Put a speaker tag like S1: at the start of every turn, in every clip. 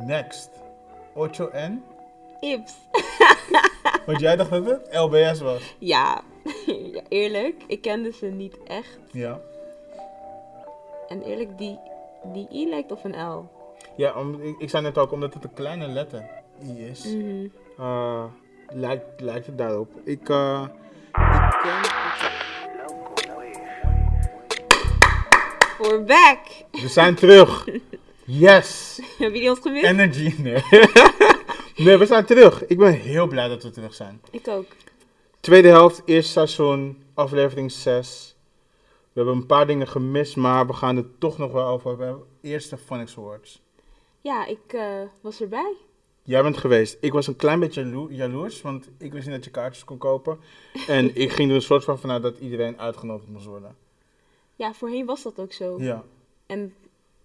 S1: Next. 8N?
S2: Ips.
S1: Want jij dacht dat het LBS was.
S2: ja. Ja, eerlijk. Ik kende ze niet echt.
S1: Ja.
S2: En eerlijk, die, die I lijkt op een L.
S1: Ja, om, ik, ik zei net ook, omdat het een kleine letter I is,
S2: Mhm.
S1: eh, lijkt, lijkt het daarop. Ik, eh, ik ken-
S2: We're back!
S1: We zijn terug. Yes.
S2: Hebben jullie ons gemist?
S1: Energy. Nee. nee, we zijn terug. Ik ben heel blij dat we terug zijn.
S2: Ik ook.
S1: Tweede helft, eerste seizoen, aflevering 6. We hebben een paar dingen gemist, maar we gaan er toch nog wel over hebben. Eerste Phonics Awards.
S2: Ja, ik eh, was erbij.
S1: Jij bent geweest. Ik was een klein beetje jalo- jaloers, want ik wist niet dat je kaartjes kon kopen. En ik ging er een soort van vanuit dat iedereen uitgenodigd moest worden.
S2: Ja, voorheen was dat ook zo.
S1: Ja.
S2: En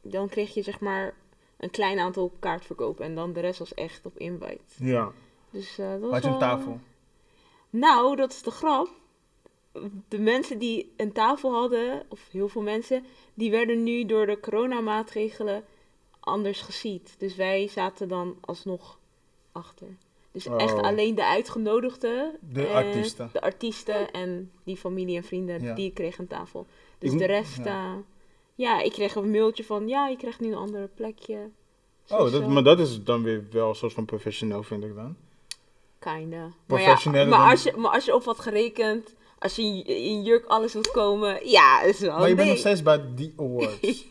S2: dan kreeg je zeg maar een klein aantal kaartverkopen. En dan de rest was echt op invite.
S1: Ja.
S2: Dus eh, dat was
S1: Had je een
S2: wel-
S1: tafel?
S2: Nou, dat is de grap. De mensen die een tafel hadden, of heel veel mensen, die werden nu door de coronamaatregelen anders gesiet. Dus wij zaten dan alsnog achter. Dus
S1: Oh.
S2: echt alleen de uitgenodigden.
S1: De
S2: eh,
S1: artiesten.
S2: De artiesten en die familie en vrienden,
S1: Ja.
S2: die kregen een tafel. Dus
S1: Ik-
S2: de rest,
S1: ja.
S2: eh, ja. ik kreeg een mailtje van, ja, je krijgt nu een ander plekje. Zo,
S1: Oh, dat,
S2: zo.
S1: maar dat is dan weer wel een soort van professioneel, vind ik dan.
S2: Kinda. Maar, ja,
S1: Professioneler
S2: maar,
S1: dan-
S2: als je, maar als je op had gerekend, als je in- in jurk alles wilt komen, ja, is wel
S1: Maar je
S2: een
S1: bent nog
S2: ding.
S1: steeds bij die awards.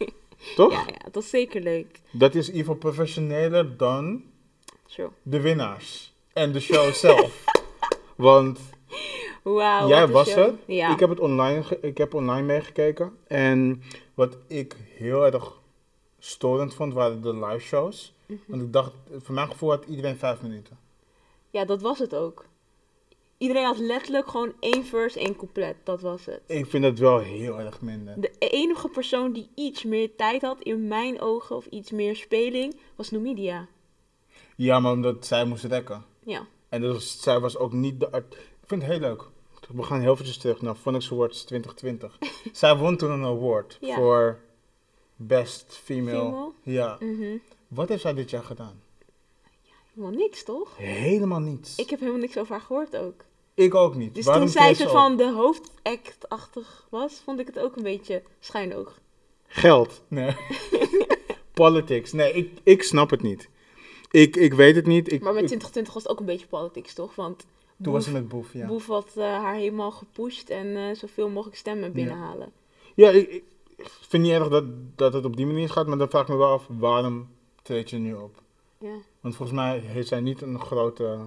S1: Toch?
S2: Ja, ja, dat is zeker leuk.
S1: Dat is in ieder geval professioneler dan
S2: True.
S1: de winnaars en de show zelf. Want
S2: Wauw.
S1: jij
S2: wat een
S1: was
S2: show.
S1: het.
S2: Ja.
S1: Ik heb het online, ge- ik heb online meegekeken. En wat ik heel erg storend vond, waren de live shows.
S2: Mhm.
S1: Want ik dacht, voor mijn gevoel had iedereen vijf minuten.
S2: ja, dat was het ook. Iedereen had letterlijk gewoon één verse, één compleet. Dat was het.
S1: Ik vind dat wel heel erg minder.
S2: De e-, enige persoon die iets meer tijd had, in mijn ogen, of iets meer speling, was Numidia.
S1: Ja, maar omdat zij moest rekken.
S2: Ja.
S1: En dus, zij was ook niet de art. Ik vind het heel leuk. We gaan heel eventjes terug naar Phonics Awards 2020. zij won toen een award
S2: Ja.
S1: voor Best Female.
S2: Female?
S1: Ja.
S2: Mhm.
S1: Wat heeft zij dit jaar gedaan?
S2: Helemaal niks, toch?
S1: Helemaal niets.
S2: Ik heb helemaal niks over haar gehoord ook.
S1: Ik ook niet.
S2: Dus
S1: Waarom
S2: toen zij
S1: treedt
S2: soort
S1: ze op?
S2: van de hoofdact-achtig was, vond ik het ook een beetje schijnoog.
S1: Geld. Nee. Politics. Nee, ik, ik snap het niet. Ik, ik weet het niet. Ik,
S2: Maar met
S1: ik-
S2: 2020 was het ook een beetje politics, toch? Want
S1: toen
S2: Boef,
S1: was het met Boef, ja.
S2: Boef had eh, haar helemaal gepusht en eh, zoveel mogelijk stemmen binnenhalen.
S1: Ja, ik, ik vind niet erg dat, dat het op die manier gaat, maar dan vraag ik me wel af, waarom treedt je nu op?
S2: Ja.
S1: Want volgens mij heeft zij niet een grote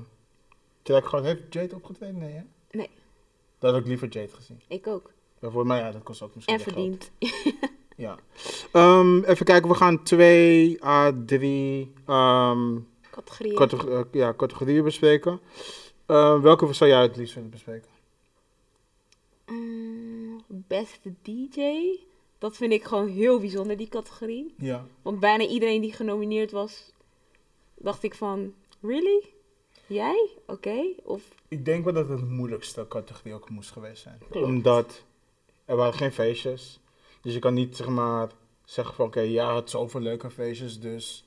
S1: track gehad. Heeft Jade opgetreden? Nee, hè?
S2: Nee.
S1: Dat had ik liever Jade gezien.
S2: Ik ook.
S1: Ja, voor mij, ja, dat kost ook misschien
S2: En
S1: weer geld.
S2: verdiend.
S1: Ja. Ehm, even kijken, we gaan twee à drie ehm,
S2: Categorie.
S1: categ- eh, ja, categorieën bespreken. Eh, welke zou jij het liefst willen bespreken?
S2: Mm, beste DJ. Dat vind ik gewoon heel bijzonder, die categorie.
S1: Ja.
S2: Want bijna iedereen die genomineerd was, dacht ik van, really? Jij? Oké. Of,
S1: Ik denk wel dat het de moeilijkste categorie ook moest geweest zijn.
S2: Klopt.
S1: Omdat er waren geen feestjes. Dus je kan niet zeg maar zeggen van oké, ja, het is zoveel leuke feestjes, dus...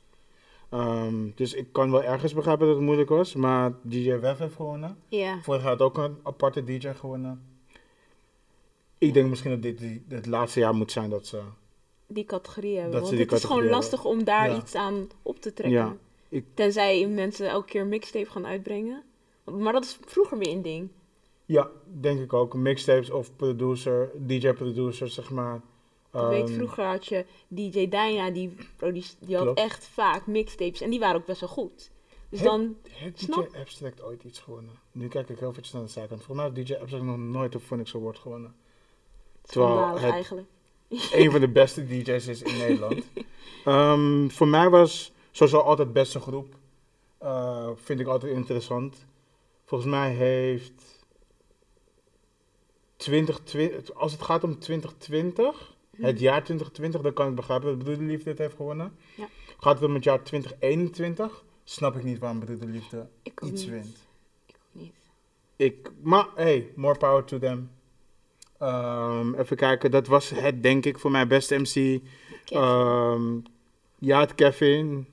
S1: Ehm, dus ik kan wel ergens begrijpen dat het moeilijk was, maar DJ Wef heeft gewonnen.
S2: ja.
S1: Vorig jaar had ook een aparte DJ gewonnen. Ik denk misschien dat dit die- het laatste jaar moet zijn dat ze...
S2: die categorie hebben.
S1: Dat
S2: want
S1: ze die
S2: het is gewoon
S1: categorie
S2: lastig om daar
S1: Ja.
S2: iets aan op te trekken.
S1: Ja, ik-
S2: Tenzij mensen elke keer een mixtape gaan uitbrengen. Maar dat is vroeger weer een ding.
S1: Ja, denk ik ook. Mixtapes of producer, DJ-producer, zeg maar.
S2: Ik weet,
S1: Ehm,
S2: vroeger had je DJ Dyna, die, produce- die had
S1: Klopt.
S2: echt vaak mixtapes. En die waren ook best wel goed. Dus
S1: Heb-
S2: dan,
S1: Heeft
S2: Snap-
S1: DJ Abstract ooit iets gewonnen? Nu kijk ik heel eventjes naar de zijkant. Volgens mij heeft DJ Abstract nog nooit de Phoenix Award gewonnen. terwijl
S2: schandalig
S1: het-
S2: eigenlijk.
S1: Eén van de beste DJ's is in Nederland. Ehm, voor mij was sowieso altijd beste groep. Eh, vind ik altijd interessant. Volgens mij heeft 2020, als het gaat om 2020,
S2: Mhm.
S1: het jaar 2020, dan kan ik begrijpen dat Broederliefde het heeft gewonnen.
S2: Ja.
S1: Gaat het om het jaar 2021, snap ik niet waarom Broederliefde
S2: Ik ook
S1: iets
S2: niet.
S1: wint.
S2: Ik ook niet.
S1: Ik, maar hey, more power to them. Ehm, even kijken, dat was het denk ik voor mijn beste MC.
S2: Kevin.
S1: Ehm, ja, het Kevin.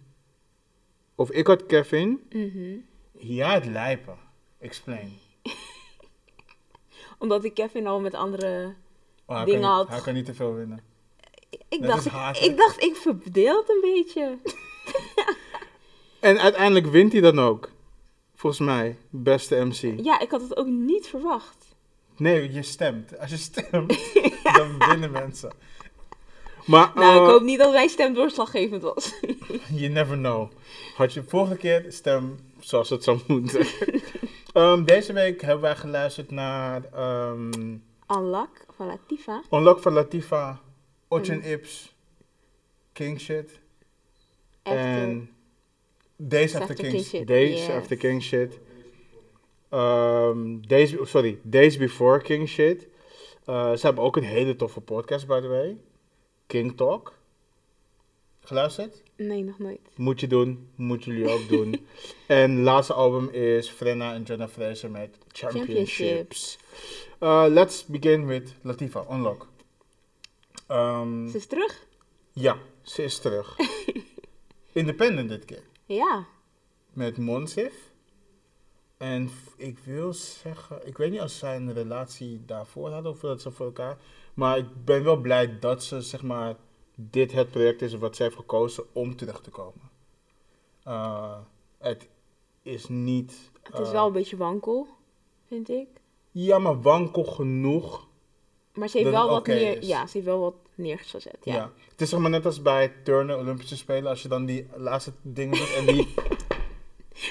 S1: Of ik had Kevin.
S2: Mhm.
S1: Ja, het lijpen. Explain.
S2: Omdat ik Kevin al met andere...
S1: Oh, hij,
S2: Dingen
S1: kan niet,
S2: had.
S1: hij kan niet te veel winnen.
S2: Ik
S1: Dat
S2: dacht
S1: is
S2: ik,
S1: haat, hè?
S2: ik dacht, ik verdeel het een beetje.
S1: En uiteindelijk wint hij dan ook. Volgens mij. Beste MC.
S2: Ja, ik had het ook niet verwacht.
S1: Nee, je stemt. Als je stemt, dan winnen mensen. Maar
S2: Nou, ik
S1: eh,
S2: hoop niet dat mijn stem doorslaggevend was.
S1: You never know. Had je vorige keer stem zoals het zou moeten. Ehm, deze week hebben wij geluisterd naar ehm
S2: Unlock van Latifa.
S1: Unlock van Latifa, Otjen Ips, King Shit
S2: After
S1: en Days After, King, Shit. Days
S2: yes.
S1: After King Shit. Ehm, days, oh, sorry, Days Before King Shit. Eh, ze hebben ook een hele toffe podcast, by the way. King Talk. Geluisterd?
S2: Nee, nog nooit.
S1: Moet je doen, moeten jullie ook doen. en laatste album is Frenna en Jonah Fraser met Championships.
S2: Championships.
S1: Uh, let's begin with Latifa, Unlock. Ehm,
S2: Ze is terug?
S1: ja, ze is terug. Independent dit keer.
S2: Ja.
S1: Met Monsif. En f- ik wil zeggen, ik weet niet of zij een relatie daarvoor hadden of dat ze voor elkaar. Maar ik ben wel blij dat ze, zeg maar, dit het project is wat zij heeft gekozen om terug te komen. Eh, het is niet.
S2: Het is
S1: eh,
S2: wel een beetje wankel, vind ik.
S1: Ja, maar wankel genoeg.
S2: Maar ze heeft
S1: Dat het
S2: wel wat
S1: oké
S2: neer...
S1: is.
S2: Ja, ze heeft wel wat neergezet.
S1: Ja.
S2: Ja.
S1: Het is zeg maar net als bij turnen, Olympische Spelen, als je dan die laatste dingen doet en die.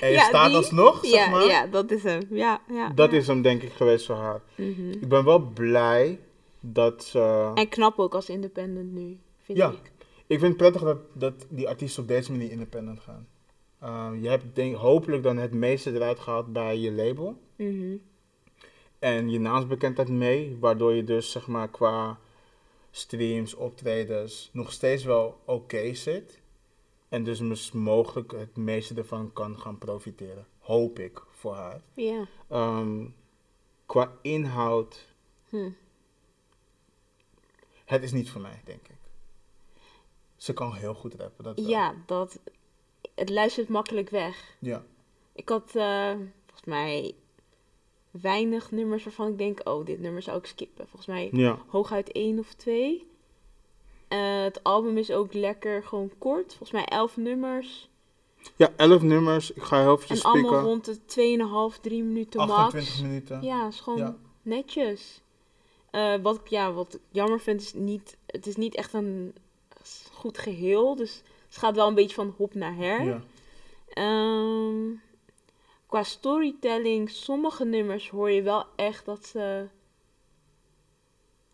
S1: En je
S2: Ja,
S1: staat
S2: die-
S1: alsnog, zeg
S2: ja,
S1: maar.
S2: ja, dat is hem. Ja, ja.
S1: Dat
S2: ja.
S1: is hem denk ik geweest voor haar.
S2: Mhm.
S1: Ik ben wel blij dat ze...
S2: En knap ook als independent nu, vind
S1: Ja.
S2: ik.
S1: Ik vind het prettig dat, dat die artiesten op deze manier independent gaan. Uh, je hebt denk, hopelijk dan het meeste eruit gehaald bij je label.
S2: Mhm.
S1: En je naamsbekendheid mee, waardoor je dus zeg maar qua streams, optredens nog steeds wel oké zit. En dus mis- mogelijk het meeste ervan kan gaan profiteren. Hoop ik voor haar.
S2: Ja.
S1: Ehm, qua inhoud
S2: Hm.
S1: Het is niet voor mij, denk ik. Ze kan heel goed rappen. Dat wel.
S2: Ja, dat... Het luistert makkelijk weg.
S1: ja.
S2: Ik had eh, volgens mij weinig nummers waarvan ik denk, oh, dit nummer zou ik skippen. Volgens mij
S1: Ja.
S2: hooguit één of twee. Eh, het album is ook lekker gewoon kort. Volgens mij elf nummers.
S1: Ja, elf nummers. Ik ga heel even
S2: en allemaal
S1: spieken.
S2: rond de 2,5, 3 minuten
S1: 28
S2: max.
S1: minuten.
S2: Ja, is gewoon
S1: Ja.
S2: netjes. Eh, wat, ik- ja, wat ik jammer vind, is niet, het is niet echt een goed geheel. Dus het gaat wel een beetje van hop naar her.
S1: Ja.
S2: Ehm, qua storytelling, sommige nummers hoor je wel echt dat ze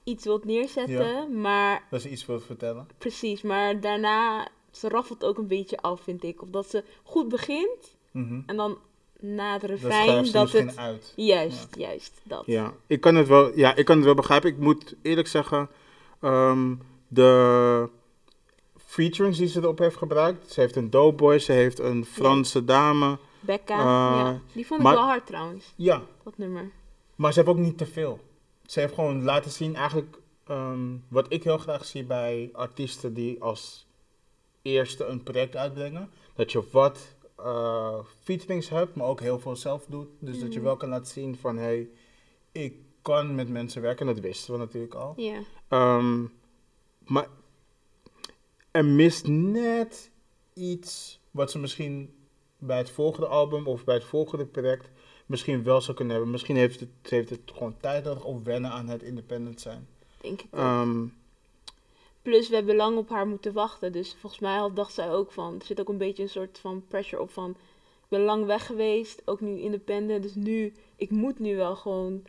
S2: iets wilt neerzetten. Maar
S1: Dat ze iets wil vertellen.
S2: precies, maar daarna, ze raffelt ook een beetje af, vind ik. Of dat ze goed begint
S1: Mhm.
S2: en dan na het
S1: Dat schrijft
S2: refrein
S1: ze
S2: dat
S1: misschien
S2: het...
S1: uit.
S2: Juist, juist, dat.
S1: Ja, ik kan het wel, ja, ik kan het wel begrijpen. Ik moet eerlijk zeggen, ehm, de featurings die ze erop heeft gebruikt. Ze heeft een doughboy, ze heeft een Franse dame.
S2: Becca,
S1: Eh,
S2: ja. die vond ik
S1: maar-
S2: wel hard trouwens,
S1: Ja,
S2: dat nummer.
S1: Maar ze heeft ook niet te veel. Ze heeft gewoon laten zien, eigenlijk ehm, wat ik heel graag zie bij artiesten die als eerste een project uitbrengen. Dat je wat eh featurings hebt, maar ook heel veel zelf doet. Dus dat je
S2: Mhm.
S1: wel kan laten zien van, hé, hey, ik kan met mensen werken. Dat wisten we natuurlijk al.
S2: Ja,
S1: Ehm, maar er mist net iets wat ze misschien bij het volgende album of bij het volgende project misschien wel zou kunnen hebben. Misschien heeft het, ze heeft het gewoon tijd nodig of wennen aan het independent zijn.
S2: denk ik ook.
S1: Ehm,
S2: Plus, we hebben lang op haar moeten wachten. Dus volgens mij had, dacht zij ook van. Er zit ook een beetje een soort van pressure op van. Ik ben lang weg geweest, ook nu independent. Dus nu, ik moet nu wel gewoon.
S1: weet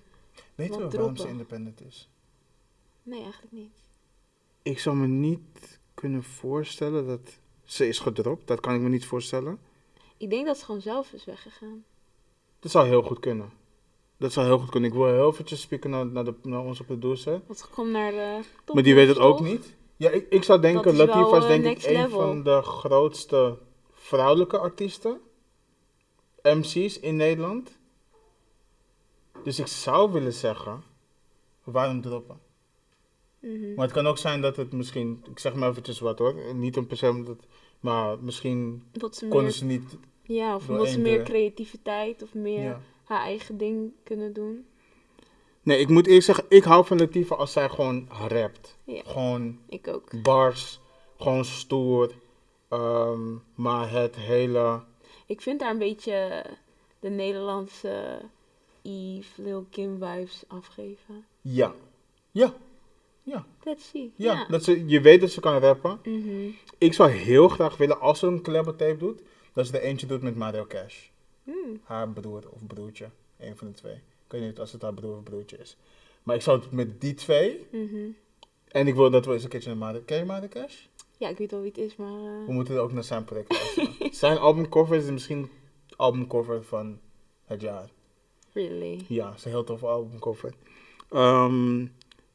S1: je
S2: Wat
S1: waarom
S2: droppen.
S1: ze independent is?
S2: Nee, eigenlijk niet.
S1: Ik zou me niet kunnen voorstellen dat ze is gedropt. Dat kan ik me niet voorstellen.
S2: Ik denk dat ze gewoon zelf is weggegaan.
S1: Dat zou heel goed kunnen. Dat zou heel goed kunnen. Ik wil heel eventjes spieken naar, naar, de, naar onze producer.
S2: Want ze kwam naar. eh Top
S1: maar die weet het
S2: Models,
S1: ook
S2: toch?
S1: niet. Ja, ik, ik zou denken,
S2: Dat is wel,
S1: Latifa is
S2: eh,
S1: denk ik
S2: next
S1: een
S2: level.
S1: van de grootste vrouwelijke artiesten, MC's in Nederland. Dus ik zou willen zeggen, waarom droppen?
S2: Mhm.
S1: Maar het kan ook zijn dat het misschien, ik zeg maar eventjes wat hoor, niet een persoon dat Maar misschien
S2: Omdat ze
S1: konden
S2: meer,
S1: ze niet.
S2: ja, of
S1: door
S2: omdat ze
S1: één
S2: meer
S1: deur.
S2: creativiteit of meer
S1: Ja.
S2: haar eigen ding kunnen doen.
S1: Nee, ik moet eerlijk zeggen, ik hou van Latifah als zij gewoon rapt.
S2: Ja.
S1: Gewoon
S2: Ik ook.
S1: bars, gewoon stoer. ehm, maar het hele.
S2: Ik vind daar een beetje eh, de Nederlandse Eve, Lil Kim vibes afgeven.
S1: Ja. Ja,
S2: Let's see.
S1: ja. Dat ze, je weet dat ze kan rappen.
S2: Mhm.
S1: Ik zou heel graag willen, als ze een collabo-tape doet, dat ze er eentje doet met Mario Cash.
S2: Hmm.
S1: haar broer of broertje. Een van de twee. Ik weet niet als het haar broer of broertje is. Maar ik zou het met die twee.
S2: Mhm.
S1: En ik wil dat we eens een keertje naar Mario Ken je Mario Cash?
S2: Ja, ik weet wel wie het is, maar... eh,
S1: We moeten ook naar zijn project luisteren. zijn albumcover is misschien de albumcover van het jaar.
S2: really.
S1: Ja, het is een heel tof albumcover. Ehm,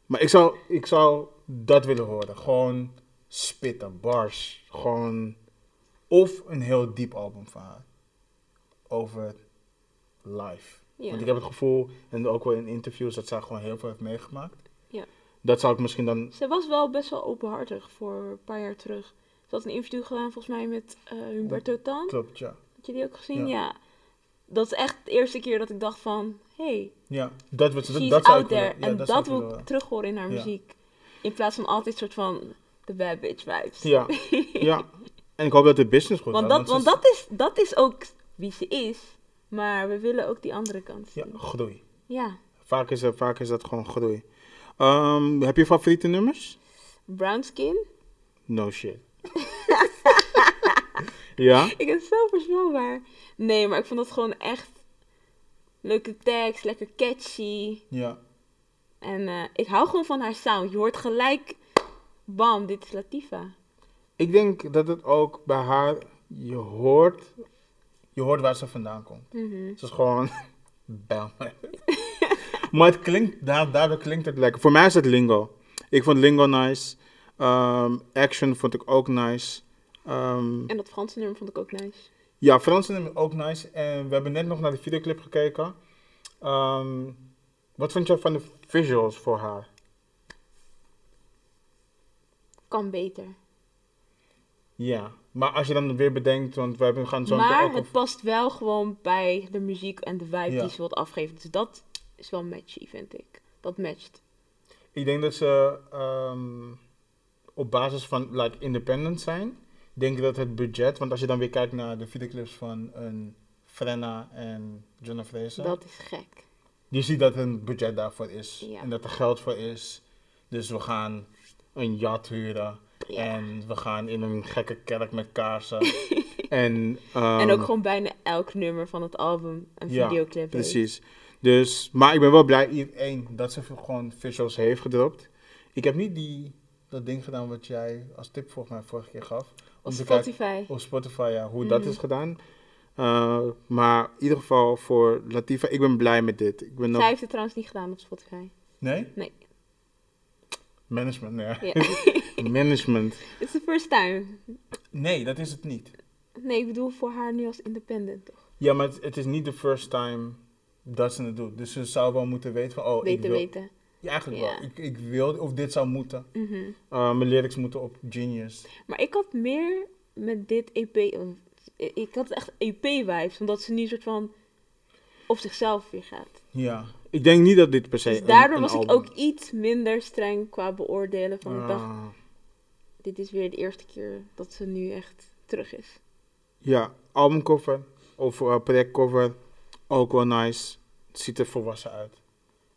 S1: maar ik zou, ik zou dat willen horen. Gewoon spitten, bars. Gewoon. Of een heel diep album van haar. Over life.
S2: Ja.
S1: Want ik heb het gevoel, en ook wel in interviews, dat zij gewoon heel veel heeft meegemaakt.
S2: Ja.
S1: Dat zou ik misschien dan.
S2: Ze was wel best wel openhartig voor een paar jaar terug. Ze had een interview gedaan volgens mij met eh, Humberto Tan.
S1: Klopt, ja.
S2: Had je die ook
S1: Ja.
S2: gezien? Ja. Dat is echt de eerste keer dat ik dacht van... Hey,
S1: Ja, dat, wat- dat,
S2: she's
S1: dat zou
S2: out
S1: ik willen.
S2: there.
S1: Ja,
S2: en
S1: dat
S2: dat,
S1: zou ik willen
S2: wil ik
S1: horen.
S2: terug horen in haar
S1: Ja.
S2: muziek. In plaats van altijd soort van... De bad bitch vibes.
S1: Ja. ja. En ik hoop dat de business goed
S2: Want,
S1: gaat,
S2: dat,
S1: ze
S2: want dat, is, dat is ook wie ze is. Maar we willen ook die andere kant
S1: Ja,
S2: zien. Ja.
S1: groei. Vaak is, er- vaak is dat gewoon groei. Ehm, heb je favoriete nummers?
S2: Brown skin.
S1: No shit. ja?
S2: Ik ben zo voorspelbaar. Nee, maar ik vond dat gewoon echt... Leuke tekst, lekker catchy.
S1: Ja.
S2: En eh, ik hou gewoon van haar sound. Je hoort gelijk... Bam, dit is Latifa.
S1: Ik denk dat het ook bij haar, je hoort, je hoort waar ze vandaan komt.
S2: Mhm.
S1: Het is gewoon bel me. maar het klinkt, da- daardoor klinkt het lekker. Voor mij is het Lingo. Ik vond Lingo nice. Ehm, action vond ik ook nice. Ehm,
S2: En dat Franse nummer vond ik ook nice.
S1: ja, Frans is ook nice. En we hebben net nog naar de videoclip gekeken. Ehm, wat vond je van de visuals voor haar?
S2: Kan beter.
S1: Ja, maar als je dan weer bedenkt, want we hebben- gaan zo meteen
S2: maar
S1: ook
S2: het
S1: over-
S2: past wel gewoon bij de muziek en de vibe
S1: Ja.
S2: die ze wilt afgeven. Dus dat is wel matchy, vind ik. Dat matcht.
S1: Ik denk dat ze ehm, op basis van like, independent zijn. Ik denk dat het budget, want als je dan weer kijkt naar de videoclips van een Frenna en Jonah Fraser,
S2: Dat is gek.
S1: je ziet dat een budget daarvoor is
S2: Ja.
S1: en dat er geld voor is. Dus we gaan een yacht huren
S2: Ja.
S1: en we gaan in een gekke kerk met kaarsen. en, ehm,
S2: en ook gewoon bijna elk nummer van het album een
S1: Ja,
S2: videoclip heeft.
S1: Precies. Dus, maar ik ben wel blij, i- één, dat ze gewoon visuals heeft gedropt. Ik heb niet die, dat ding gedaan wat jij als tip volgens mij vorige keer gaf.
S2: Op
S1: te kijken
S2: Spotify.
S1: op Spotify, ja, hoe dat
S2: Mhm.
S1: is gedaan. Eh, maar in ieder geval voor Latifa, ik ben blij met dit. Ik ben nog...
S2: Zij heeft het trouwens niet gedaan op Spotify.
S1: Nee?
S2: Nee.
S1: Management, nee.
S2: Ja.
S1: Management.
S2: It's the first time.
S1: Nee, dat is het niet.
S2: Nee, ik bedoel voor haar nu als independent, toch?
S1: Ja, maar het, het is niet de first time dat ze het doet. Dus ze zou wel moeten weten van, oh, ik
S2: Beter
S1: wil...
S2: weten.
S1: Ja, eigenlijk
S2: Ja.
S1: wel. Ik, ik wil, of dit zou moeten.
S2: Mhm.
S1: Eh, mijn lyrics moeten op Genius.
S2: Maar ik had meer met dit EP... Ik had echt EP-vibes, omdat ze nu een soort van op zichzelf weer gaat.
S1: Ja. Ik denk niet dat dit per se.
S2: Dus
S1: een-
S2: daardoor
S1: een
S2: was ik
S1: album-
S2: ook iets minder streng qua beoordelen. Van ik dacht,
S1: Ah,
S2: dit is weer de eerste keer dat ze nu echt terug is.
S1: ja, albumcover of eh, projectcover. Ook wel nice. Het ziet er volwassen uit.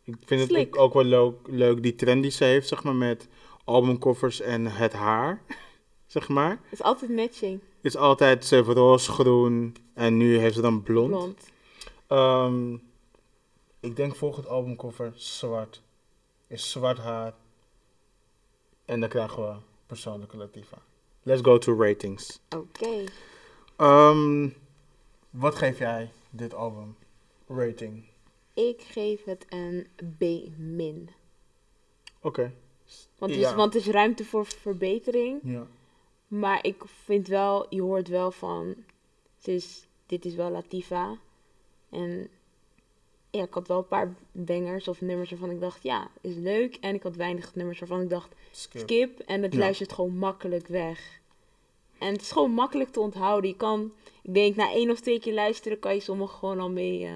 S1: Ik vind het
S2: Slick.
S1: ook- ook wel leuk, leuk, die trend die ze heeft, zeg maar, met albumcovers en het haar. zeg maar.
S2: Het is altijd matching.
S1: Het is altijd ze heeft roze, groen en nu heeft ze dan blond.
S2: Blond.
S1: Ehm, ik denk volgend albumcover zwart. Is zwart haar. En dan krijgen we persoonlijke Latifa. Let's go to ratings.
S2: Oké.
S1: Ehm, wat geef jij dit album? Rating.
S2: Ik geef het een B-min.
S1: Oké.
S2: Want, er
S1: Ja.
S2: is- want er is ruimte voor verbetering.
S1: Ja.
S2: Maar ik vind wel, je hoort wel van, het is, dit is wel Latifa. En ja, ik had wel een paar bangers of nummers waarvan ik dacht, ja, is leuk. En ik had weinig nummers waarvan ik dacht,
S1: Skip.
S2: skip. En het
S1: Ja.
S2: luistert gewoon makkelijk weg. En het is gewoon makkelijk te onthouden. Je kan, ik denk, na één of twee keer luisteren kan je sommige gewoon al mee eh,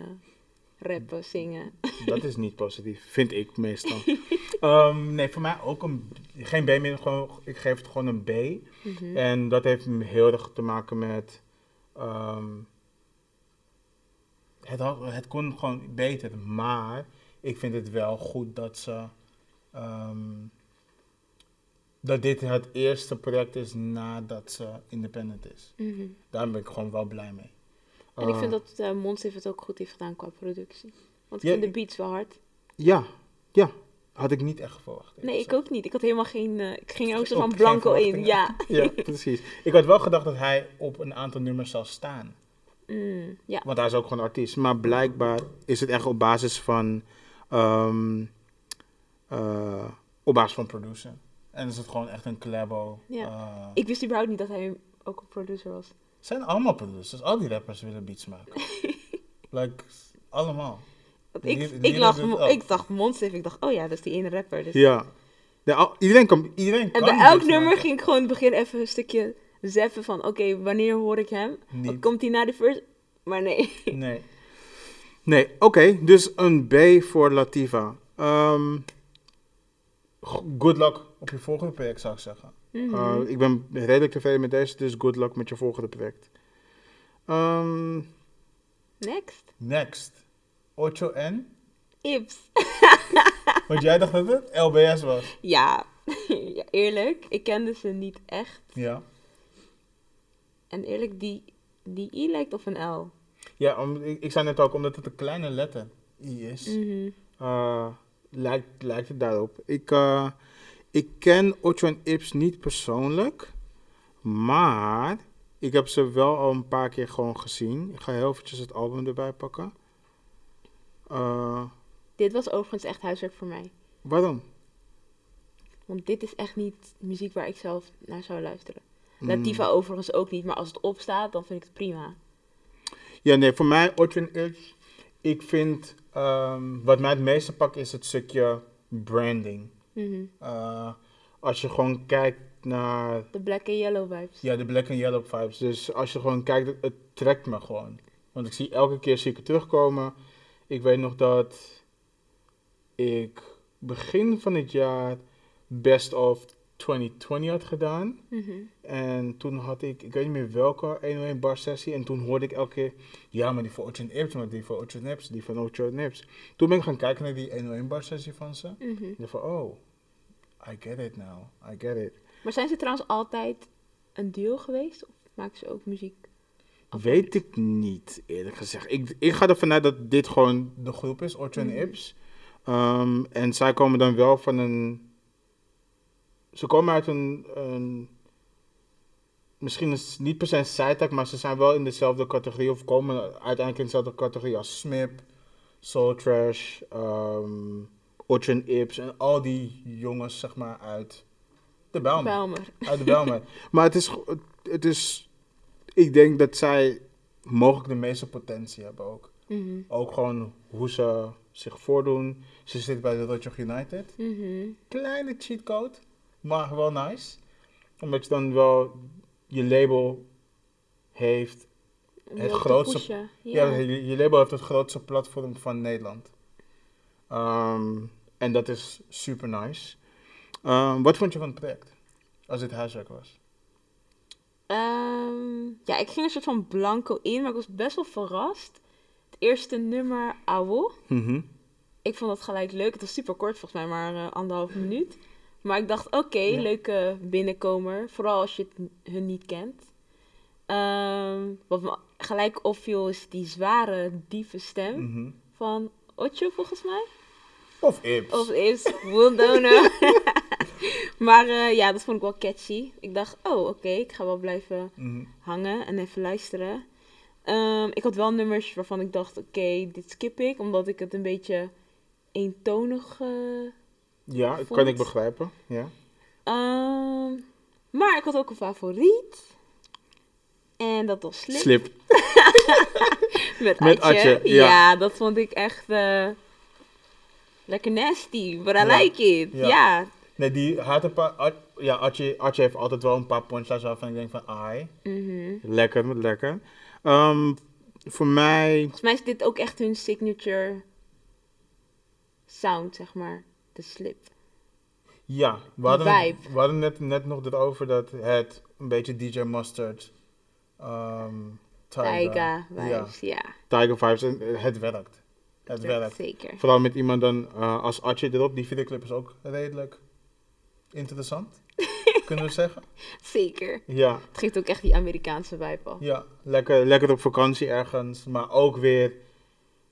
S2: rappen, zingen.
S1: Dat is niet positief, vind ik meestal. Ehm, nee, voor mij ook een, geen B meer, gewoon, ik geef het gewoon een B.
S2: Mhm.
S1: En dat heeft m- heel erg te maken met. ehm, het, had- het kon gewoon beter, maar ik vind het wel goed dat ze. ehm, dat dit het eerste project is nadat ze independent is.
S2: Mhm.
S1: Daar ben ik gewoon wel blij mee.
S2: En ik
S1: Eh,
S2: vind dat eh Mons heeft het ook goed heeft gedaan qua productie. Want ik
S1: Ja,
S2: vind de beats wel hard.
S1: Ja, ja. Had ik niet echt verwacht. eerlijk
S2: Nee, ik
S1: gezegd.
S2: ook niet. Ik had helemaal geen... eh, ik ging er ook zo
S1: Ook
S2: van
S1: geen
S2: blanco in.
S1: verwachtingen.
S2: Ja.
S1: Ja, precies. Ik had wel gedacht dat hij op een aantal nummers zou staan.
S2: Mm, ja.
S1: Want hij is ook gewoon artiest. Maar blijkbaar is het echt op basis van. ehm, eh, op basis van produceren. En is het gewoon echt een collabo.
S2: Ja.
S1: eh,
S2: Ik wist überhaupt niet dat hij ook een producer was.
S1: zijn allemaal producers. Al die rappers willen beats maken. like, allemaal.
S2: Want
S1: Die-
S2: ik,
S1: die-
S2: ik,
S1: die
S2: lag,
S1: doet oh. het
S2: Mo-
S1: ook.
S2: ik dacht Mons heeft. Ik dacht, oh ja, dat is die ene rapper. Dus.
S1: Ja. De, al- iedereen kan. Iedereen
S2: En
S1: kan
S2: bij elk
S1: beats
S2: nummer
S1: maken.
S2: ging ik gewoon in het begin even een stukje zeffen van... Oké, wanneer hoor ik hem?
S1: Niet.
S2: Komt hij na de first? Maar nee.
S1: Nee. Nee, oké. dus een B voor Latifa. Ehm, go- good luck op je volgende project, zou ik zeggen.
S2: Mhm.
S1: Uh, ik ben redelijk tevreden met deze, dus good luck met je volgende project. Ehm,
S2: Next.
S1: next. Ocho N.
S2: Ips.
S1: Want jij dacht dat het LBS was.
S2: Ja. ja, eerlijk. Ik kende ze niet echt.
S1: Ja.
S2: En eerlijk, die, die I lijkt op een L.
S1: Ja, om, ik, ik zei net ook, omdat het een kleine letter Mm. I is,
S2: Mhm.
S1: eh, lijkt, lijkt het daarop. Ik, eh, ik ken Ocho en Ips niet persoonlijk, maar ik heb ze wel al een paar keer gewoon gezien. Ik ga heel eventjes het album erbij pakken. Eh,
S2: Dit was overigens echt huiswerk voor mij.
S1: waarom?
S2: Want dit is echt niet muziek waar ik zelf naar zou luisteren.
S1: Mm.
S2: Latifa overigens ook niet, maar als het opstaat, dan vind ik het prima.
S1: Ja, nee, voor mij Orchard Edge. Ik vind, ehm, wat mij het meeste pakt is het stukje branding.
S2: Mhm.
S1: Eh, als je gewoon kijkt naar,
S2: De black en yellow vibes.
S1: ja, de black and yellow vibes. Dus als je gewoon kijkt, het, het trekt me gewoon. Want ik zie elke keer zie ik het terugkomen. Ik weet nog dat ik begin van het jaar Best of 2020 had gedaan.
S2: Mhm.
S1: En toen had ik, ik weet niet meer welke 101 bar sessie. En toen hoorde ik elke keer, ja, maar die van Ocean Ips, maar die van Ocean Ips, die van Ocean Ips. Toen ben ik gaan kijken naar die 101 bar sessie van ze. En
S2: Mhm.
S1: dacht van, oh, I get it now, I get it.
S2: Maar zijn ze trouwens altijd een duo geweest? Of maken ze ook muziek?
S1: Weet ik niet, eerlijk gezegd. Ik, ik ga ervan uit dat dit gewoon de groep is, Ocean
S2: Mhm.
S1: Ips. Ehm, en zij komen dan wel van een... Ze komen uit een... een misschien is niet per se een zijtak, maar ze zijn wel in dezelfde categorie... of komen uiteindelijk in dezelfde categorie als Smip, Soul Trash, ehm Ocean Ips... en al die jongens, zeg maar, uit de Bijlmer.
S2: Belmer.
S1: Uit de Bijlmer. maar het is, go- het- het is... Ik denk dat zij mogelijk de meeste potentie hebben ook.
S2: Mhm.
S1: Ook gewoon hoe ze zich voordoen. Ze zit bij de Dutch United.
S2: Mhm.
S1: Kleine cheatcode, maar wel nice. Omdat je dan wel je label heeft.
S2: Om
S1: Het
S2: je ook te
S1: grootste-
S2: pushen.
S1: Ja.
S2: Ja.
S1: je, je label heeft het grootste platform van Nederland. Ehm, en dat is super nice. Ehm, wat vond je van het project? Als dit huiswerk was.
S2: Ehm, ja, ik ging een soort van blanco in, maar ik was best wel verrast. Het eerste nummer, Awo.
S1: Mhm.
S2: Ik vond dat gelijk leuk. Het was super kort volgens mij, maar eh, anderhalf minuut. Maar ik dacht, oké,
S1: Ja.
S2: leuke binnenkomer. Vooral als je het n- hun niet kent. Ehm, wat me gelijk opviel is die zware, diepe stem
S1: Mhm.
S2: van Otjo volgens mij.
S1: Of Ips.
S2: Of is Wildona. maar eh, ja, dat vond ik wel catchy. Ik dacht, oh oké, ik ga wel blijven
S1: Mhm.
S2: hangen en even luisteren. Ehm, ik had wel nummers waarvan ik dacht, oké, dit skip ik, omdat ik het een beetje eentonig... eh,
S1: Ja, dat
S2: Vond-
S1: kan ik begrijpen. Ja.
S2: ehm, maar ik had ook een favoriet. En dat was Slip.
S1: Slip.
S2: Met,
S1: Met
S2: Atje.
S1: Atje,
S2: ja.
S1: ja.
S2: dat vond ik echt eh, lekker nasty, but I
S1: Ja.
S2: like it. Ja,
S1: Ja. Nee, die had een paar... Ar- ja, Archie, Archie heeft altijd wel een paar punchlines waarvan ik denk van... Ai,
S2: Mhm.
S1: lekker, lekker. Ehm, voor mij...
S2: Volgens mij is dit ook echt hun signature sound, zeg maar. De slip.
S1: Ja, we
S2: Die
S1: hadden, het-
S2: vibe.
S1: we hadden net, net nog dit over dat het een beetje DJ Mustard, ehm Tiger,
S2: Taiga vibes, ja.
S1: Tiger vibes en eh, het werkt. Het werkt.
S2: Zeker.
S1: Vooral met iemand dan eh, als Archie erop, die videoclip is ook redelijk interessant, kunnen we zeggen.
S2: Zeker.
S1: Ja,
S2: Het geeft ook echt die Amerikaanse vibe al.
S1: ja. Lekker, lekker op vakantie ergens, maar ook weer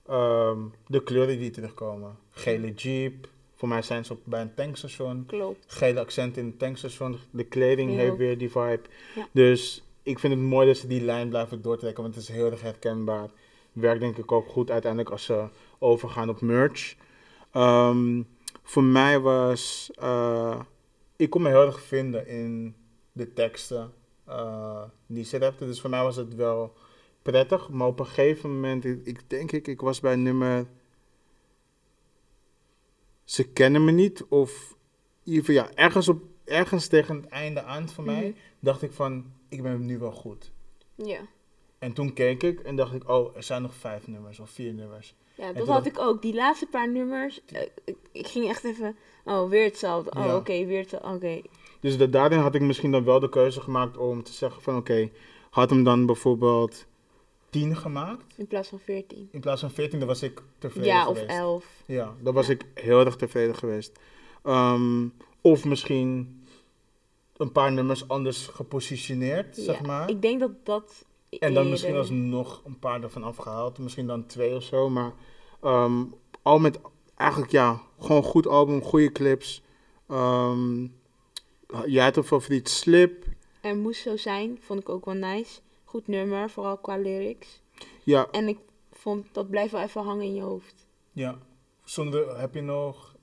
S1: ehm, de kleuren die terugkomen. Gele jeep, voor mij zijn ze op, bij een tankstation.
S2: Klopt.
S1: gele accent in het tankstation. De kleding
S2: Heel.
S1: heeft weer die vibe.
S2: Ja.
S1: Dus ik vind het mooi dat ze die lijn blijven doortrekken, want het is heel erg herkenbaar. Werkt denk ik ook goed uiteindelijk als ze overgaan op merch. Ehm, voor mij was. eh, ik kon me heel erg vinden in de teksten eh, die ze rapten. Dus voor mij was het wel prettig. Maar op een gegeven moment, ik, ik denk ik, ik was bij nummer. Ze kennen me niet. Of in ieder geval, ja, ergens, op, ergens tegen het einde aan voor mij,
S2: Mhm.
S1: dacht ik van, ik ben nu wel goed.
S2: Ja.
S1: En toen keek ik en dacht ik, oh, er zijn nog vijf nummers of vier nummers.
S2: Ja, dat
S1: toen
S2: had
S1: dacht-
S2: ik ook. Die laatste paar nummers. eh, ik, ik ging echt even. Oh, weer hetzelfde. Oh,
S1: Ja.
S2: oké, weer hetzelfde. Oké.
S1: Dus da- daarin had ik misschien dan wel de keuze gemaakt om te zeggen van, oké, had hem dan bijvoorbeeld tien gemaakt.
S2: In plaats van 14.
S1: In plaats van veertien, dan was ik tevreden
S2: Ja, of
S1: geweest.
S2: 11.
S1: Ja, dan was ik heel erg tevreden geweest. Ehm, of misschien een paar nummers anders gepositioneerd, zeg
S2: Ja,
S1: maar.
S2: Ik denk dat dat.
S1: En dan
S2: eerder-
S1: misschien alsnog een paar ervan afgehaald. Misschien dan twee of zo. Maar ehm, al met eigenlijk ja, gewoon goed album, goede clips. Ehm, jij had een favoriet slip.
S2: Er moest zo zijn. Vond ik ook wel nice. Goed nummer, vooral qua lyrics.
S1: Ja,
S2: En ik vond dat blijft wel even hangen in je hoofd.
S1: ja. Zonder heb je nog.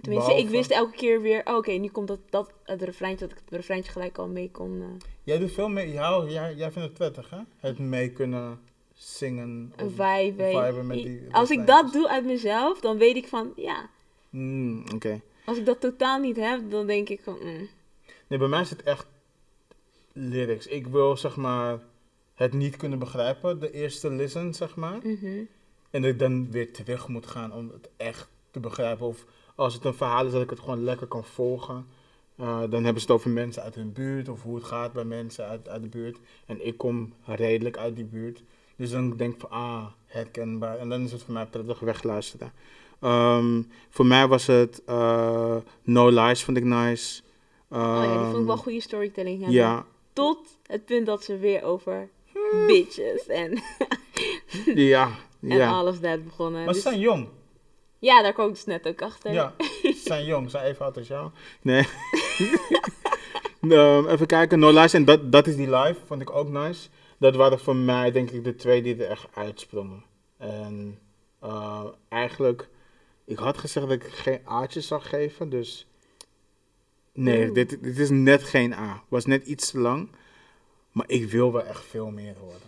S2: Tenminste, ik
S1: behalve-
S2: wist elke keer weer. oh, oké, nu komt dat, dat het refreintje. Dat ik het refreintje gelijk al mee kon. eh,
S1: Jij doet veel mee. Jou, jij, jij vindt het prettig, hè? Het mee kunnen zingen.
S2: een
S1: of-
S2: vibe.
S1: viben met die
S2: Als ik
S1: refreintjes.
S2: dat doe uit mezelf, dan weet ik van ja.
S1: Mm, Oké.
S2: Als ik dat totaal niet heb, dan denk ik van. mm.
S1: Nee, bij mij is het echt lyrics. Ik wil zeg maar het niet kunnen begrijpen, de eerste listen, zeg maar.
S2: Mhm.
S1: En dat ik dan weer terug moet gaan om het echt te begrijpen. Of als het een verhaal is dat ik het gewoon lekker kan volgen. Eh, dan hebben ze het over mensen uit hun buurt of hoe het gaat bij mensen uit, uit de buurt. En ik kom redelijk uit die buurt. Dus dan denk ik van, ah, herkenbaar. En dan is het voor mij prettig wegluisteren. Ehm, voor mij was het eh, No Lies vond ik nice.
S2: oh ja, die vond ik wel
S1: Ehm,
S2: goede storytelling hebben.
S1: Ja,
S2: Tot het punt dat ze weer over bitches en,
S1: ja,
S2: en
S1: ja.
S2: alles dat begonnen.
S1: Maar ze
S2: Dus-
S1: zijn jong.
S2: ja, daar kwam ik dus net ook achter.
S1: Ja, ze zijn jong. Ze zijn even oud als jou. Nee. Ehm, even kijken. No Lies. En dat, dat is die live. Vond ik ook nice. Dat waren voor mij denk ik de twee die er echt uitsprongen. En eh, eigenlijk... Ik had gezegd dat ik geen A'tjes zou geven. Dus... Nee,
S2: Oeh.
S1: dit, dit is net geen A. Was net iets te lang. Maar ik wil wel echt veel meer horen.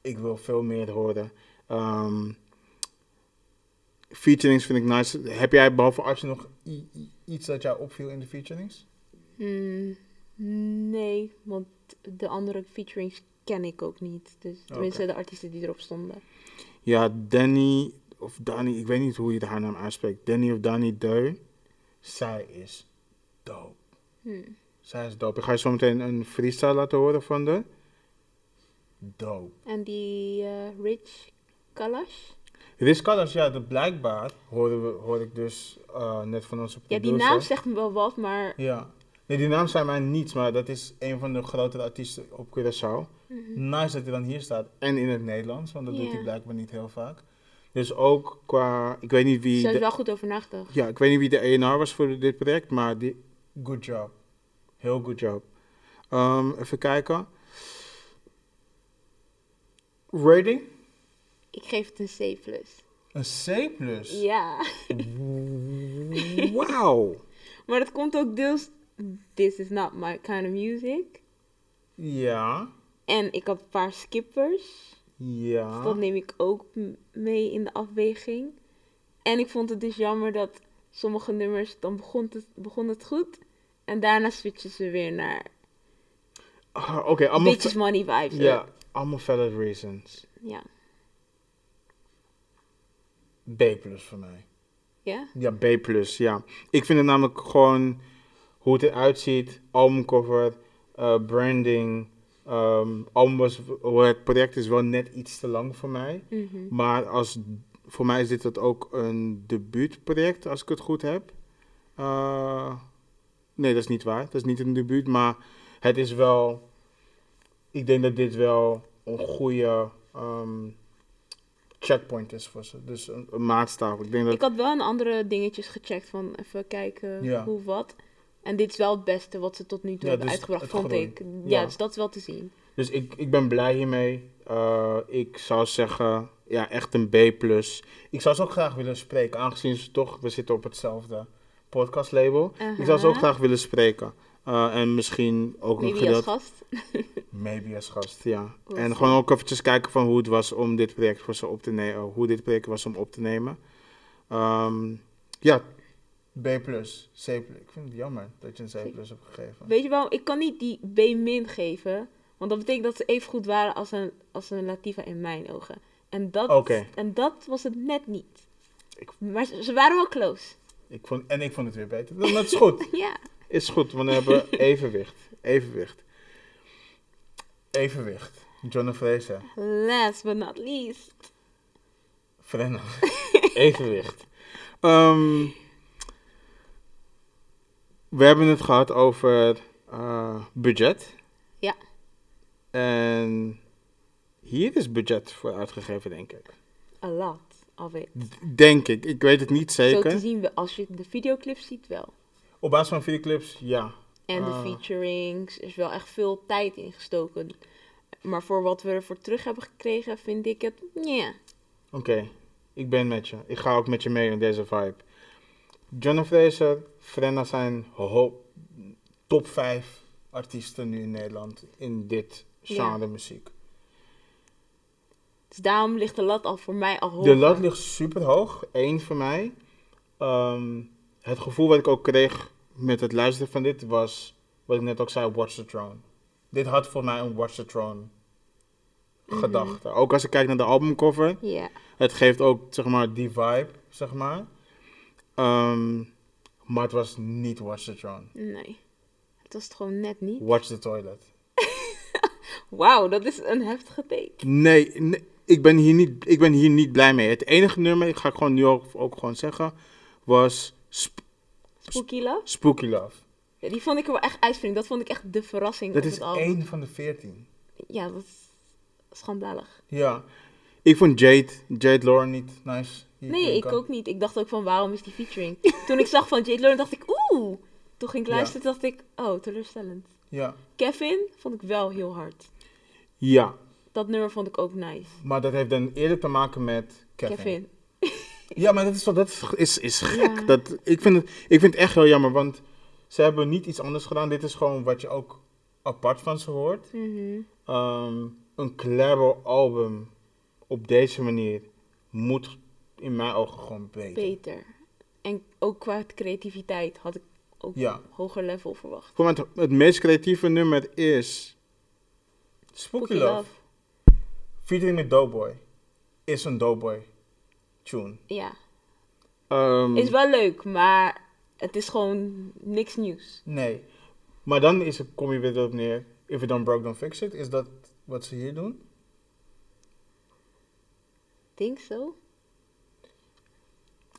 S1: Ik wil veel meer horen. Ehm featurings vind ik nice. Heb jij behalve Archie nog i- i- iets dat jou opviel in de featurings?
S2: Hmm, nee, want de andere featurings ken ik ook niet. Dus tenminste de artiesten die erop stonden.
S1: Ja, Danny of Danny, ik weet niet hoe je haar naam uitspreekt. Danny of Danny Deu. Zij is dope.
S2: Hmm.
S1: Zij is dope. Ik ga je zo meteen een freestyle laten horen van de. Dope.
S2: En die eh, Rich Kalash.
S1: Riz Carlos, ja, dat blijkbaar horen we, hoor ik dus eh, net van onze
S2: Ja, die
S1: producer.
S2: naam zegt me wel wat, maar
S1: Ja. Nee, die naam zei mij niets, maar dat is een van de grotere artiesten op Curaçao. Nice dat hij dan hier staat. En in het Nederlands, want dat doet hij
S2: Mhm. Ja.
S1: blijkbaar niet heel vaak. Dus ook qua, ik weet niet wie,
S2: ze heeft
S1: de,
S2: wel goed over nagedacht.
S1: ja, ik weet niet wie de ENR was voor dit project, maar die, good job. Heel good job. Ehm, even kijken. Rating?
S2: Ik geef het een C+.
S1: Een C+.
S2: Ja.
S1: Wauw.
S2: Maar dat komt ook deels. This is not my kind of music.
S1: Ja.
S2: En ik had een paar skippers. Dus
S1: Ja.
S2: dat neem ik ook m- mee in de afweging. En ik vond het dus jammer dat sommige nummers, dan begon het, begon het goed. En daarna switchen ze weer naar
S1: Ah, Oké, allemaal...
S2: Bitches Money vibes.
S1: Ja, allemaal valid reasons.
S2: Ja.
S1: B plus voor mij.
S2: Ja?
S1: Ja, B plus, ja. Ik vind het namelijk gewoon hoe het eruit ziet, albumcover, eh, branding. ehm album was, het project is wel net iets te lang voor mij.
S2: Mhm.
S1: Maar als, voor mij is dit het ook een debuutproject, als ik het goed heb. Eh, nee, dat is niet waar. Dat is niet een debuut, maar het is wel... Ik denk dat dit wel een goede ehm, checkpoint is voor ze. Dus een, een maatstaf. Ik denk dat
S2: Ik had wel een andere dingetjes gecheckt van even kijken
S1: Ja.
S2: hoe wat. En dit is wel het beste wat ze tot nu toe
S1: Ja,
S2: hebben
S1: dus
S2: uitgebracht,
S1: het
S2: vond
S1: groen.
S2: ik. Ja,
S1: Ja.
S2: dus dat is wel te zien.
S1: Dus ik, ik ben blij hiermee. Eh, ik zou zeggen, ja, echt een B+. Ik zou ze ook graag willen spreken, aangezien ze toch, we zitten op hetzelfde podcastlabel. Ik zou ze ook
S2: Aha.
S1: graag willen spreken. Eh, en misschien ook een
S2: Maybe
S1: gedeelte...
S2: als gast.
S1: Maybe als gast, ja.
S2: We'll
S1: en
S2: see.
S1: gewoon ook eventjes kijken van hoe het was om dit project voor ze op te nemen. Hoe dit project was om op te nemen. Ehm, ja, B+, C+. Ik vind het jammer dat je een C+, hebt gegeven.
S2: Weet je wel, ik kan niet die B-min geven. Want dat betekent dat ze even goed waren als een, als een Latifa in mijn ogen. En dat,
S1: Oké.
S2: en dat was het net niet.
S1: Ik-
S2: Maar ze, ze waren wel close.
S1: Ik vond, en ik vond het weer beter. Maar het is goed.
S2: Ja.
S1: Is goed, want we hebben evenwicht. Evenwicht. Evenwicht. John Fraser.
S2: Last but not least.
S1: Frenna. Evenwicht. Ehm, we hebben het gehad over eh, budget.
S2: Ja.
S1: En hier is budget voor uitgegeven, denk ik.
S2: A lot of it.
S1: D- Denk ik. Ik weet het niet
S2: Zo te
S1: zeker.
S2: zien we als je de videoclips ziet wel.
S1: Op basis van videoclips, ja.
S2: En
S1: Ah.
S2: de featurings. Er is wel echt veel tijd in gestoken. Maar voor wat we ervoor terug hebben gekregen, vind ik het. Ja.
S1: Oké, ik ben met je. Ik ga ook met je mee in deze vibe. John Fraser, Frenna zijn ho- top 5 artiesten nu in Nederland in dit
S2: Ja.
S1: genre muziek.
S2: Dus daarom ligt de lat al voor mij al hoog.
S1: De lat ligt super hoog, één voor mij. Ehm, het gevoel wat ik ook kreeg met het luisteren van dit was, wat ik net ook zei, Watch the Throne. Dit had voor mij een Watch the Throne
S2: Mhm.
S1: gedachte. Ook als ik kijk naar de albumcover,
S2: Ja.
S1: Het geeft ook, zeg maar, die vibe, zeg maar. Ehm, maar het was niet Watch the Throne.
S2: Nee. Het was het gewoon net niet.
S1: Watch the Toilet.
S2: Wauw, dat is een heftige take.
S1: Nee, nee, ik, ben hier niet, ik ben hier niet blij mee. Het enige nummer, ik ga gewoon nu ook, ook gewoon zeggen, was Sp-
S2: Spooky Love.
S1: Spooky Love.
S2: Ja, die vond ik er wel echt uitvinding. Dat vond ik echt de verrassing
S1: Dat
S2: op
S1: is
S2: het album.
S1: één van de veertien.
S2: Ja, dat is schandalig.
S1: Ja. Ik vond Jade, Jade Lauren niet nice. Hier
S2: Nee, ik
S1: klinken.
S2: ook niet. Ik dacht ook van waarom is die featuring? Toen ik zag van Jade Lauren dacht ik oeh. Toen ging ik
S1: Ja.
S2: luisteren dacht ik oh teleurstellend.
S1: Ja.
S2: Kevin vond ik wel heel hard.
S1: ja,
S2: Dat nummer vond ik ook nice.
S1: maar dat heeft dan eerder te maken met Kevin.
S2: Kevin.
S1: Ja, maar dat is, wel- dat is, is, is gek.
S2: Ja.
S1: Dat, ik, vind het, ik vind het echt heel jammer, want ze hebben niet iets anders gedaan. Dit is gewoon wat je ook apart van ze hoort.
S2: Mhm.
S1: Ehm, een collabo album op deze manier moet in mijn ogen gewoon beter.
S2: Beter. En ook qua creativiteit had ik ook
S1: Ja.
S2: een hoger level verwacht.
S1: Voor mij het, het meest creatieve nummer is Spooky
S2: Spooky
S1: Love. Featuring met Doughboy. Is een Doughboy tune.
S2: Ja.
S1: Ehm,
S2: Is wel leuk, maar het is gewoon niks nieuws.
S1: Nee. Maar dan is het, kom je weer erop neer. If it don't broke, don't fix it. Is dat wat ze hier doen?
S2: Denk zo.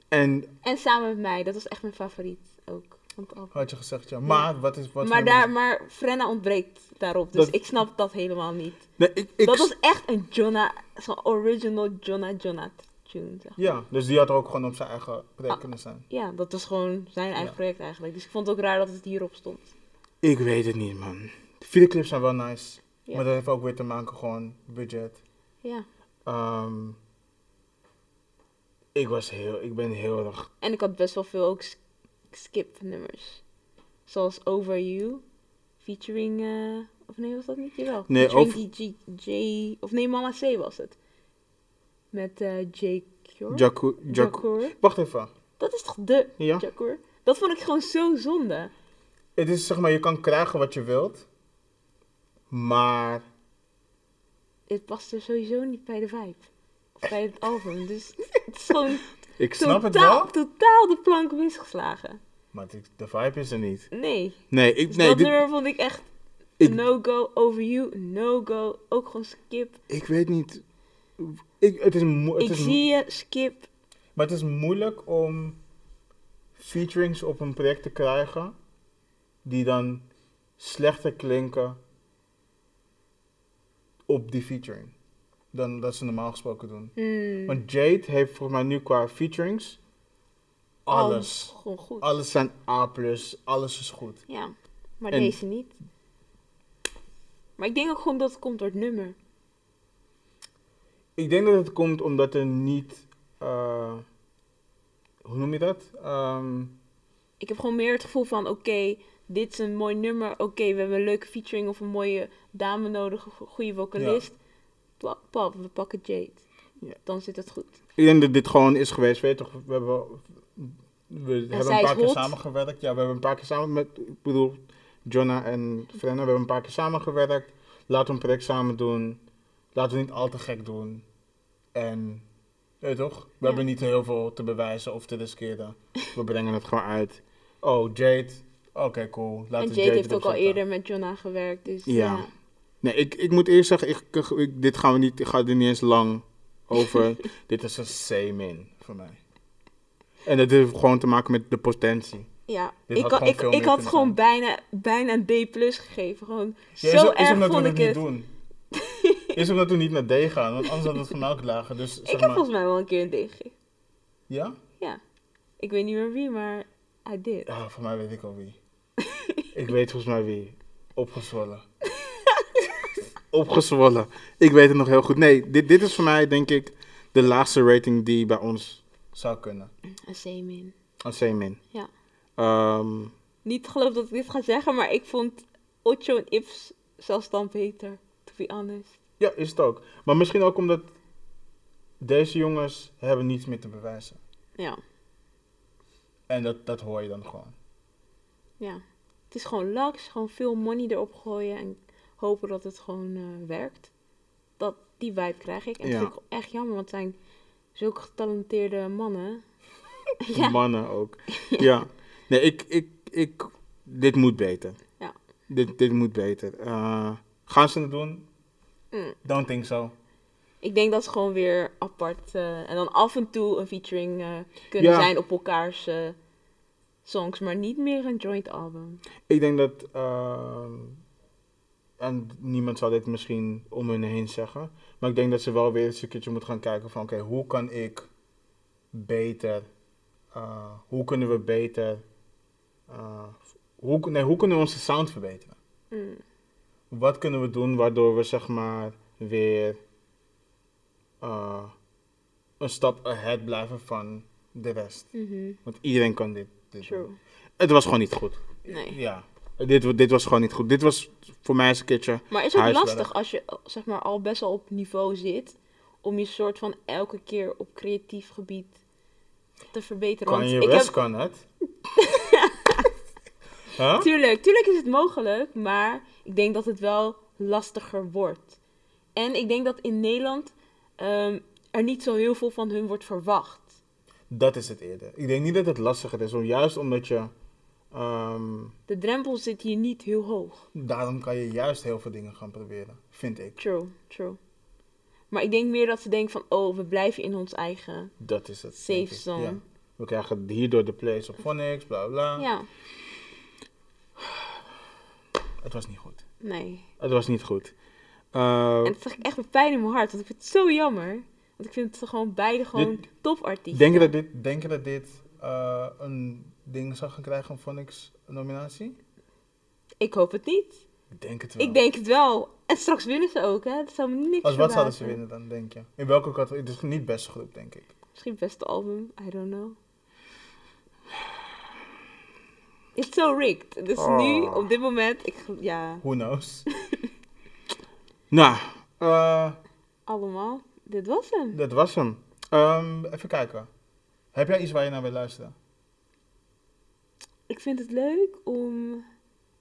S1: En
S2: En samen met mij, dat was echt mijn favoriet ook. van het album.
S1: Had je gezegd, ja. Maar wat is... Wat
S2: maar,
S1: hebben
S2: daar,
S1: we-
S2: maar Frenna ontbreekt daarop, dus
S1: Dat-
S2: ik snap dat helemaal niet.
S1: Nee, ik, ik,
S2: Dat was echt een Jonna, zo'n original Jonna Jonna tune. Zeg. maar.
S1: Ja, dus die had ook gewoon op zijn eigen plek
S2: Ah.
S1: kunnen zijn.
S2: Ja, dat was gewoon zijn eigen
S1: Ja.
S2: project eigenlijk. Dus ik vond het ook raar dat het hierop stond.
S1: Ik weet het niet, man. De videoclips zijn wel nice.
S2: Ja.
S1: Maar dat heeft ook weer te maken gewoon budget.
S2: Ja.
S1: Ehm, ik was heel... Ik ben heel erg...
S2: En ik had best wel veel ook skip nummers. Zoals Over You, featuring, eh, of nee was dat niet? Jawel.
S1: Nee,
S2: featuring die G, J, of nee Mama C was het. Met eh J. Cure?
S1: Jaco... Jaco...
S2: Jacor.
S1: Wacht even.
S2: Dat is toch de
S1: Ja.
S2: Jacour? Dat vond ik gewoon zo zonde.
S1: Het is zeg maar, je kan krijgen wat je wilt. Maar
S2: Het past er sowieso niet bij de vibe. Of bij het album. Dus het is gewoon
S1: ik snap het
S2: totaal,
S1: wel.
S2: totaal de plank misgeslagen.
S1: Maar het- de vibe is er niet.
S2: Nee.
S1: Nee, ik,
S2: Dus
S1: nee
S2: dat
S1: dit-
S2: nummer vond ik echt
S1: ik,
S2: no-go over you, no-go. Ook gewoon skip.
S1: ik weet niet. Ik, het is mo- het
S2: ik
S1: is,
S2: zie je, skip.
S1: Maar het is moeilijk om featurings op een project te krijgen die dan slechter klinken op die featuring dan dat ze normaal gesproken doen.
S2: Hmm.
S1: Want Jade heeft volgens mij nu qua featurings
S2: Alles
S1: alles.
S2: oh, Gewoon goed.
S1: Alles zijn A+, alles is goed.
S2: Ja, maar
S1: En-
S2: deze niet. Maar ik denk ook gewoon dat het komt door het nummer.
S1: Ik denk dat het komt omdat er niet, eh, hoe noem je dat? Ehm,
S2: Ik heb gewoon meer het gevoel van: oké, dit is een mooi nummer. Oké, we hebben een leuke featuring of een mooie dame nodig, een go- goede vocalist. Pla- Pap, we pakken Jade.
S1: Ja.
S2: Dan zit het goed.
S1: Ik denk dat dit gewoon is geweest, weet je toch? We hebben, we hebben
S2: zij
S1: een
S2: is
S1: paar keer
S2: hot.
S1: samengewerkt. Ja, we hebben een paar keer samen met, ik bedoel, Jonna en Frenna, we hebben een paar keer samengewerkt. Laten we een project samen doen. Laten we niet al te gek doen. En, weet je toch? We
S2: Ja.
S1: hebben niet heel veel te bewijzen of te riskeren. We brengen het gewoon uit. Oh, Jade. Oké, cool. Laten
S2: en
S1: we
S2: Jade, heeft ook
S1: erop
S2: al
S1: zetten.
S2: eerder met Jonna gewerkt. Dus ja.
S1: Ja. Nee, ik, ik moet eerst zeggen, ik, ik- dit gaan we niet, ik ga er niet eens lang over. dit is een C-min voor mij. En dat heeft gewoon te maken met de potentie.
S2: Ja,
S1: Dit
S2: ik,
S1: had
S2: had,
S1: gewoon
S2: ik,
S1: veel
S2: ik
S1: meer
S2: had
S1: kunnen
S2: gewoon
S1: zijn.
S2: bijna, bijna een D plus gegeven. Gewoon
S1: Ja, is,
S2: zo
S1: is
S2: erg
S1: omdat
S2: vond
S1: we
S2: ik
S1: het
S2: het.
S1: niet doen. Is omdat we niet naar D gaan, want anders hadden we het van elk lager. Dus zeg
S2: Ik heb
S1: maar.
S2: volgens mij wel een keer een D gegeven.
S1: Ja?
S2: Ja. Ik weet niet meer wie, maar I did.
S1: Ja, voor mij weet ik al wie. ik weet volgens mij wie. Opgezwollen. Opgezwollen. Ik weet het nog heel goed. Nee, dit, dit is voor mij denk ik de laagste rating die bij ons zou kunnen.
S2: Een C-min.
S1: Een C-min.
S2: Ja.
S1: Ehm,
S2: Niet te geloven dat ik dit ga zeggen, maar ik vond Ocho en Ips zelfs dan beter. To be honest.
S1: Ja, is het ook. Maar misschien ook omdat deze jongens hebben niets meer te bewijzen.
S2: Ja,
S1: En dat, dat hoor je dan gewoon.
S2: ja. Het is gewoon laks, gewoon veel money erop gooien en hopen dat het gewoon eh, werkt. Dat, die vibe krijg ik. En
S1: Ja.
S2: dat vind ik echt jammer, want het zijn zulke getalenteerde mannen. ja,
S1: Mannen ook. ja. Nee, ik, ik, ik... Dit moet beter.
S2: Ja.
S1: Dit, dit moet beter. Eh, gaan ze het doen?
S2: Mm.
S1: Don't think so.
S2: ik denk dat ze gewoon weer apart eh, en dan af en toe een featuring eh, kunnen
S1: Ja.
S2: zijn op elkaars eh, songs, maar niet meer een joint album.
S1: Ik denk dat... ehm, en niemand zal dit misschien om hun heen zeggen. Maar ik denk dat ze wel weer eens een keertje moeten gaan kijken van... Oké, hoe kan ik beter... eh, hoe kunnen we beter... eh, hoe, nee, hoe kunnen we onze sound verbeteren?
S2: Mm.
S1: wat kunnen we doen waardoor we zeg maar weer eh, een stap ahead blijven van de rest.
S2: Mhm.
S1: Want iedereen kan dit. dit
S2: True.
S1: doen. Het was gewoon niet goed.
S2: Nee.
S1: Ja. Dit, wa- dit was gewoon niet goed. Dit was voor mij eens een keertje.
S2: Maar is ook
S1: Huiswerk.
S2: lastig als je zeg maar, al best wel op niveau zit. Om je soort van elke keer op creatief gebied te verbeteren.
S1: Kan
S2: Want
S1: je
S2: ik
S1: West
S2: heb...
S1: kan het. huh?
S2: tuurlijk, tuurlijk is het mogelijk. Maar ik denk dat het wel lastiger wordt. En ik denk dat in Nederland ehm, er niet zo heel veel van hun wordt verwacht.
S1: Dat is het eerder. Ik denk niet dat het lastiger is. om- Juist omdat je. ehm,
S2: De drempel zit hier niet heel hoog.
S1: daarom kan je juist heel veel dingen gaan proberen. Vind ik.
S2: True, true. Maar ik denk meer dat ze denken van, oh, we blijven in ons eigen
S1: Dat is het.
S2: safe
S1: denk ik.
S2: zone.
S1: Ja. We krijgen hierdoor de plays op Phonics, bla bla. bla.
S2: ja,
S1: Het was niet goed.
S2: nee.
S1: Het was niet goed. Eh,
S2: En dat zag ik echt met pijn in mijn hart, want ik vind het zo jammer. Want ik vind het gewoon beide gewoon topartiesten.
S1: denk je dat dit, denk je dat dit eh, een ding zou gaan krijgen, een Phonics nominatie?
S2: Ik hoop het niet.
S1: Ik denk het wel.
S2: Ik denk het wel. En straks winnen ze ook, hè? Dat zou me niks
S1: Als wat zouden
S2: verbazen.
S1: ze winnen dan, denk je? In welke categorie? Het is niet beste groep, denk ik.
S2: Misschien beste album, I don't know. It's so rigged. Dus
S1: Oh.
S2: nu, op dit moment, ik, gel- ja,
S1: Who knows? nou, eh,
S2: allemaal. Dit was hem.
S1: dat was hem. Ehm, even kijken. Heb jij iets waar je naar wil luisteren?
S2: Ik vind het leuk om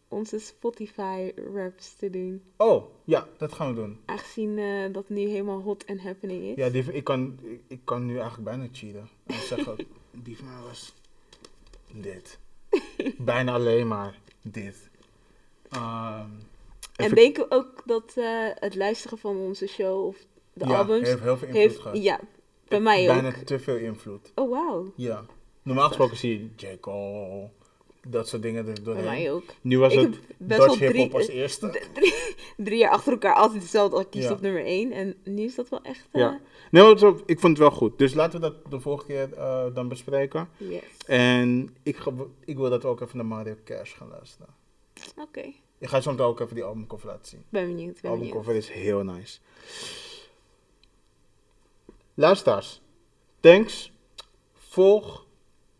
S2: onze Spotify raps te doen.
S1: Oh, ja, dat gaan we doen.
S2: Aangezien eh, dat nu helemaal hot en happening is.
S1: Ja, die, ik, kan, ik, ik kan nu eigenlijk bijna cheaten. En zeggen, die van mij was dit. bijna alleen maar dit. Ehm,
S2: en
S1: even-
S2: denken we ook dat eh, het luisteren van onze show of de
S1: ja,
S2: albums
S1: heeft heel veel invloed
S2: heeft...
S1: gehad.
S2: Ja, bij mij
S1: bijna
S2: ook.
S1: te veel invloed.
S2: Oh, wauw.
S1: Ja. Normaal gesproken zie je J. Cole, dat soort dingen er
S2: Bij
S1: doorheen.
S2: mij ook.
S1: Nu was
S2: Ik
S1: het
S2: heb best wel
S1: Dutch
S2: drie-
S1: hip-hop als eerste.
S2: D- Drie, drie jaar achter elkaar altijd dezelfde artiest
S1: Ja.
S2: op nummer één. En nu is dat wel echt... eh,
S1: Ja. Nee, maar het is wel- ik vond het wel goed. Dus laten we dat de vorige keer eh, dan bespreken.
S2: Yes.
S1: En ik, ga, ik wil dat we ook even naar Mario Cash gaan luisteren.
S2: Oké.
S1: Ik ga zo meteen ook even die albumcover laten zien.
S2: Ben benieuwd, ben benieuwd.
S1: albumcover is heel nice. Luisteraars, thanks. Volg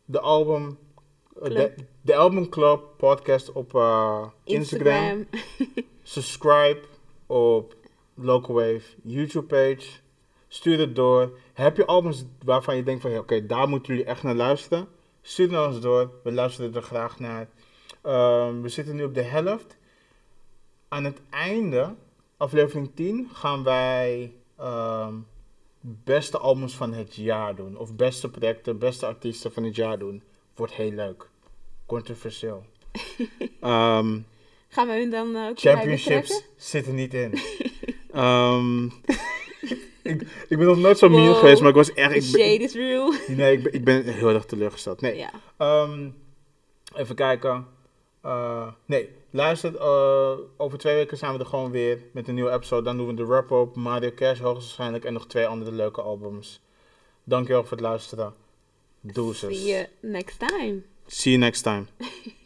S1: de album, eh, de,
S2: Club.
S1: de Album Club podcast op eh, Instagram. Subscribe op Local Wave YouTube page. Stuur het door. Heb je albums waarvan je denkt van hey, oké, daar moeten jullie echt naar luisteren? Stuur het naar ons door. We luisteren er graag naar. Ehm, we zitten nu op de helft. Aan het einde, aflevering 10, gaan wij ehm, beste albums van het jaar doen. Of beste projecten, beste artiesten van het jaar doen. Wordt heel leuk. Controversieel. Ehm
S2: Gaan we hun dan eh, ook erbij
S1: Championships
S2: betrekken?
S1: zitten niet in. Ehm, ik, ik ben nog nooit zo mean
S2: Wow.
S1: geweest, maar ik was echt.
S2: The
S1: Ik ben,
S2: shade is real.
S1: nee, ik ben, ik ben heel erg teleurgesteld. Nee.
S2: Ja.
S1: ehm, even kijken. Eh, nee, luister. eh, over twee weken zijn we er gewoon weer met een nieuwe episode. Dan doen we de wrap-up, Mario Cash hoogstwaarschijnlijk en nog twee andere leuke albums. Dankjewel voor het luisteren. Doezes.
S2: See you next time.
S1: See you next time.